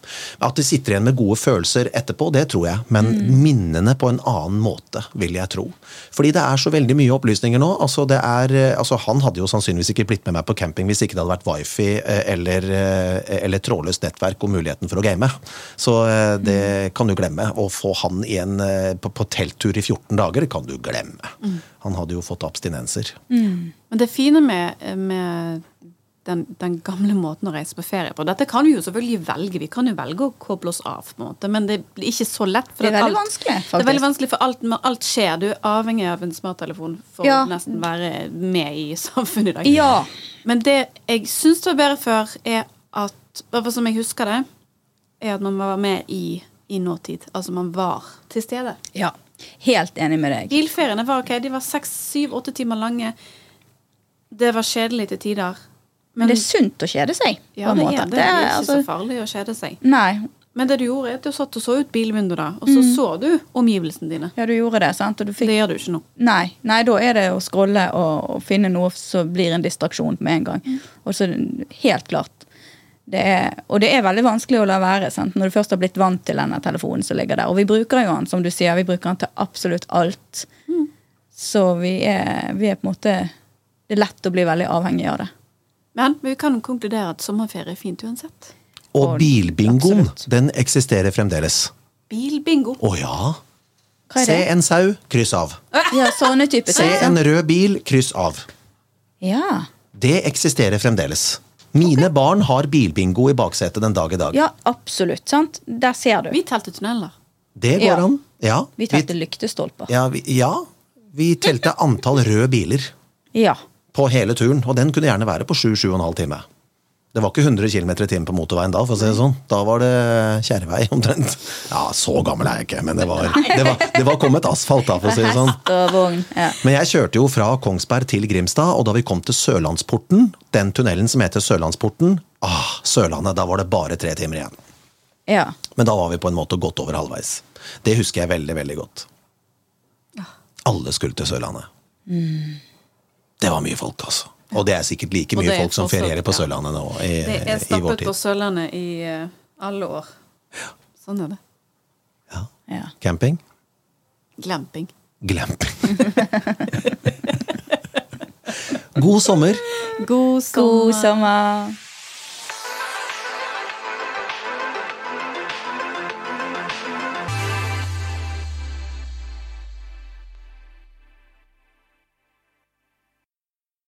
[SPEAKER 2] At de sitter igjen med gode følelser etterpå, det tror jeg. Men minnene på en annen måte, vil jeg tro. Fordi det er så veldig mye opplysninger nå. Altså, det er, eh, altså, han hadde jo sannsynligvis ikke blitt med meg på camping hvis ikke det hadde vært wifi eh, eller, eh, eller trådløst nettverk og muligheten for å game. Så eh, det
[SPEAKER 3] Mm.
[SPEAKER 2] kan du glemme. Å få han igjen eh, på, på telttur i 14 dager kan du glemme.
[SPEAKER 3] Mm.
[SPEAKER 2] Han hadde jo fått abstinenser.
[SPEAKER 1] Men det fine med, med den, den gamle måten å reise på ferie på Dette kan vi jo selvfølgelig velge, vi kan jo velge å koble oss av, på en måte, men det blir ikke så lett. For
[SPEAKER 3] Det er
[SPEAKER 1] at
[SPEAKER 3] veldig vanskelig,
[SPEAKER 1] Det er veldig
[SPEAKER 3] faktisk.
[SPEAKER 1] vanskelig, for alt, men alt skjer. Du er avhengig av en smarttelefon for
[SPEAKER 3] Ja.
[SPEAKER 1] å nesten være med i samfunnet i dag.
[SPEAKER 3] Ja.
[SPEAKER 1] Men det jeg syns var bedre før, er at I hvert fall som jeg husker det, er at man var med i, i nåtid. Altså man var til stede.
[SPEAKER 3] ja. Helt enig med deg.
[SPEAKER 1] Bilferiene var ok, de var seks, syv, åtte timer lange. Det var kjedelig til tider.
[SPEAKER 3] Men det er sunt å kjede seg.
[SPEAKER 1] Ja,
[SPEAKER 3] på en
[SPEAKER 1] det
[SPEAKER 3] måte.
[SPEAKER 1] er det. Det er ikke
[SPEAKER 3] altså,
[SPEAKER 1] så farlig å kjede seg.
[SPEAKER 3] Nei.
[SPEAKER 1] Men det du gjorde, er at du satt og så ut bilvinduet, da, og så så du omgivelsene dine.
[SPEAKER 3] Ja, du gjorde det, sant? Og du fikk
[SPEAKER 1] Det gjør du ikke nå.
[SPEAKER 3] Nei, nei, da er det å scrolle og, og finne noe som blir en distraksjon med en gang. Og så Helt klart. Det er, og det er veldig vanskelig å la være sant? når du først har blitt vant til denne telefonen som ligger der. Og vi bruker jo den, som du sier, vi bruker den til absolutt alt. Så vi er, vi er på en måte Det er lett å bli veldig avhengig av det.
[SPEAKER 1] Men vi kan konkludere at sommerferie er fint uansett.
[SPEAKER 2] Og
[SPEAKER 3] Og-
[SPEAKER 2] bilbingoen,
[SPEAKER 3] absolutt.
[SPEAKER 2] den eksisterer fremdeles.
[SPEAKER 1] Bilbingo.
[SPEAKER 2] Å ja!
[SPEAKER 3] Hva er
[SPEAKER 2] Se
[SPEAKER 3] det?
[SPEAKER 2] en sau, kryss av.
[SPEAKER 3] Ja, sånne typer
[SPEAKER 2] Se
[SPEAKER 3] ting.
[SPEAKER 2] en
[SPEAKER 3] sant?
[SPEAKER 2] rød bil, kryss av.
[SPEAKER 3] Ja.
[SPEAKER 2] Det eksisterer fremdeles. Mine barn har bilbingo i baksetet den dag i dag.
[SPEAKER 3] ja, absolutt. sant? Der ser du.
[SPEAKER 1] Vi telte tunneler.
[SPEAKER 2] Det går
[SPEAKER 3] Ja.
[SPEAKER 2] an. Ja.
[SPEAKER 3] Vi tenkte lyktestolper.
[SPEAKER 2] ja, vi, ja, vi telte antall røde biler
[SPEAKER 3] Ja.
[SPEAKER 2] på hele turen, og den kunne gjerne være på 7-7,5 time. Det var ikke 100 km i timen på motorveien da, for å si det sånn. Da var det kjerrevei omtrent. Ja, så gammel er jeg ikke, men det var, det var, det var kommet asfalt da, for å si det sånn.
[SPEAKER 3] Hest og vogn. Ja.
[SPEAKER 2] Men jeg kjørte jo fra Kongsberg til Grimstad, og da vi kom til Sørlandsporten, den tunnelen som heter Sørlandsporten, ah, Sørlandet, da var det bare tre timer igjen.
[SPEAKER 3] ja.
[SPEAKER 2] Men da var vi på en måte godt over halvveis. Det husker jeg veldig, veldig godt. Alle skulle til Sørlandet. Det var mye folk, altså. Og det er sikkert like
[SPEAKER 1] Og
[SPEAKER 2] mye
[SPEAKER 1] det er
[SPEAKER 2] folk som
[SPEAKER 1] fortsatt-
[SPEAKER 2] ferierer på
[SPEAKER 1] ja.
[SPEAKER 2] Sørlandet nå i,
[SPEAKER 1] Det er
[SPEAKER 2] Eh, i vår
[SPEAKER 1] stappet på
[SPEAKER 2] tid.
[SPEAKER 1] Sørlandet i eh, alle år. Sånn er det.
[SPEAKER 2] Ja.
[SPEAKER 3] ja.
[SPEAKER 2] Camping?
[SPEAKER 1] Glamping.
[SPEAKER 2] Glamping. God sommer.
[SPEAKER 1] God sommer.
[SPEAKER 3] God sommer.